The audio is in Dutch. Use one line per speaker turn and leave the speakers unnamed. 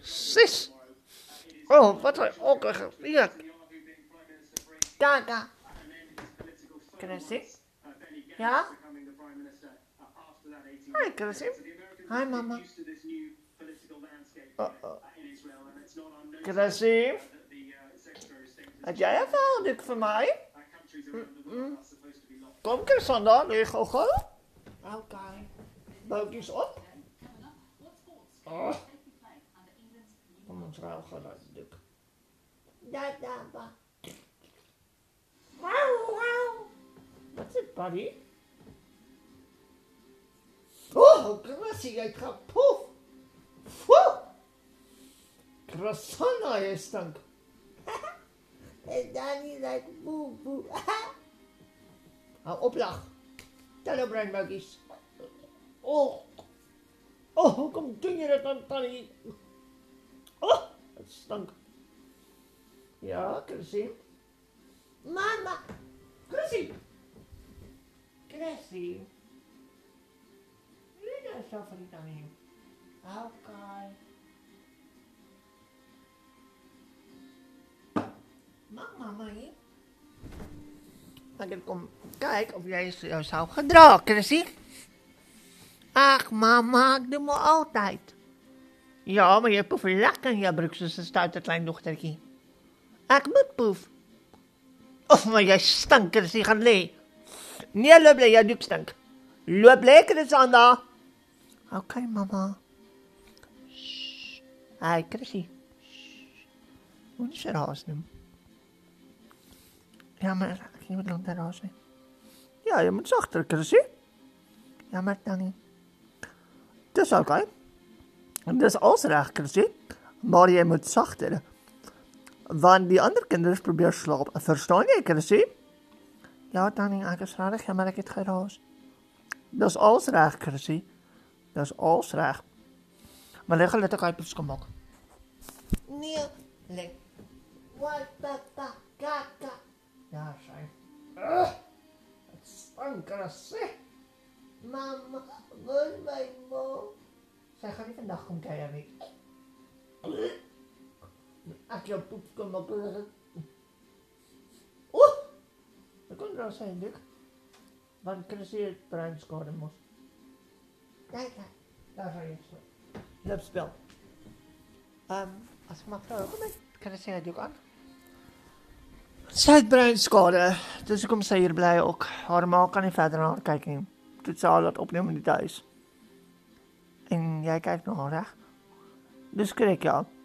vis. Oh, wat een okkerige vier. Kaka. Chrissy? Ja? Hi, Chrissy. Hi, mama. Uh-oh. Chrissy? Had jij een verhaalduk voor mij? Kom, Cassandra, wil je goochelen? Oké. Bootjes op. Oh. Kom ons raal geluidsduk. Da, da, ba. Wauw, wauw. Wat is het, buddy? Oh, Krassie, jij gaat poef. Poef. Krasana, je stank. en Danny lijkt boe, boe. Hou op, lach. Tel op, Rijnbouwkies. Oh. Oh, hoe komt doe je dat dan, Danny? Oh, het stank. Ja, Chrissy. Mama. Chrissy. Chrissy. Wie is nou dat van die Danny? Oké. Mama, mami. Maar ik kom kijken of jij je zou gedragen, Chrissy. Ach, mama, ik doe me altijd. Ja, maar je proeft lekker in je broek, dus dan staat het klein dochtertje. Ik moet proef. Of, maar jij stank, Chrissy, gaan lee. Nee, loop jij doet stank. Loop lekker, Sanda. Oké, mama. Shh. Hi, Chrissy. Shh. Moet je raas doen? Ja, maar ik moet lang raas zijn. Ja, je moet zachter, Chrissy. Ja, maar dan niet. Het is oké. Dat is alles reg, Chrissy. Maar jy moet sagter. Want die ander kinders probeer slaap. Verstaan jy, Chrissy? Ja, Tannie, ek is regtig jammer ek het geraas. Dis alles reg, Chrissy. Dis alles reg. Maar leg hulle dit ook uit op skomak. Nee, leg. Wat ta ta kaka. Ja, sy. Ugh. Dit stank, Chrissy. Mama, wil my mom. Zij gaat niet vandaag kom kijken, Mick. Als je poep kan makkelijk. Oeh! Dat kon er al zijn, Dick. Want Chrissy het bruin scoren moest. Kijk, kijk. Daar ga je staan. Leuk spel. Ehm, als ik mag vragen, kom ik. Chrissy het ook aan. Sy het bruin skade, dus ek kom sy hier bly ook. Haar ma kan nie verder na haar kyk nie. Toe het sy haar laat opneem in die huis. En jij kijkt nogal raar. Dus kreeg ik jou.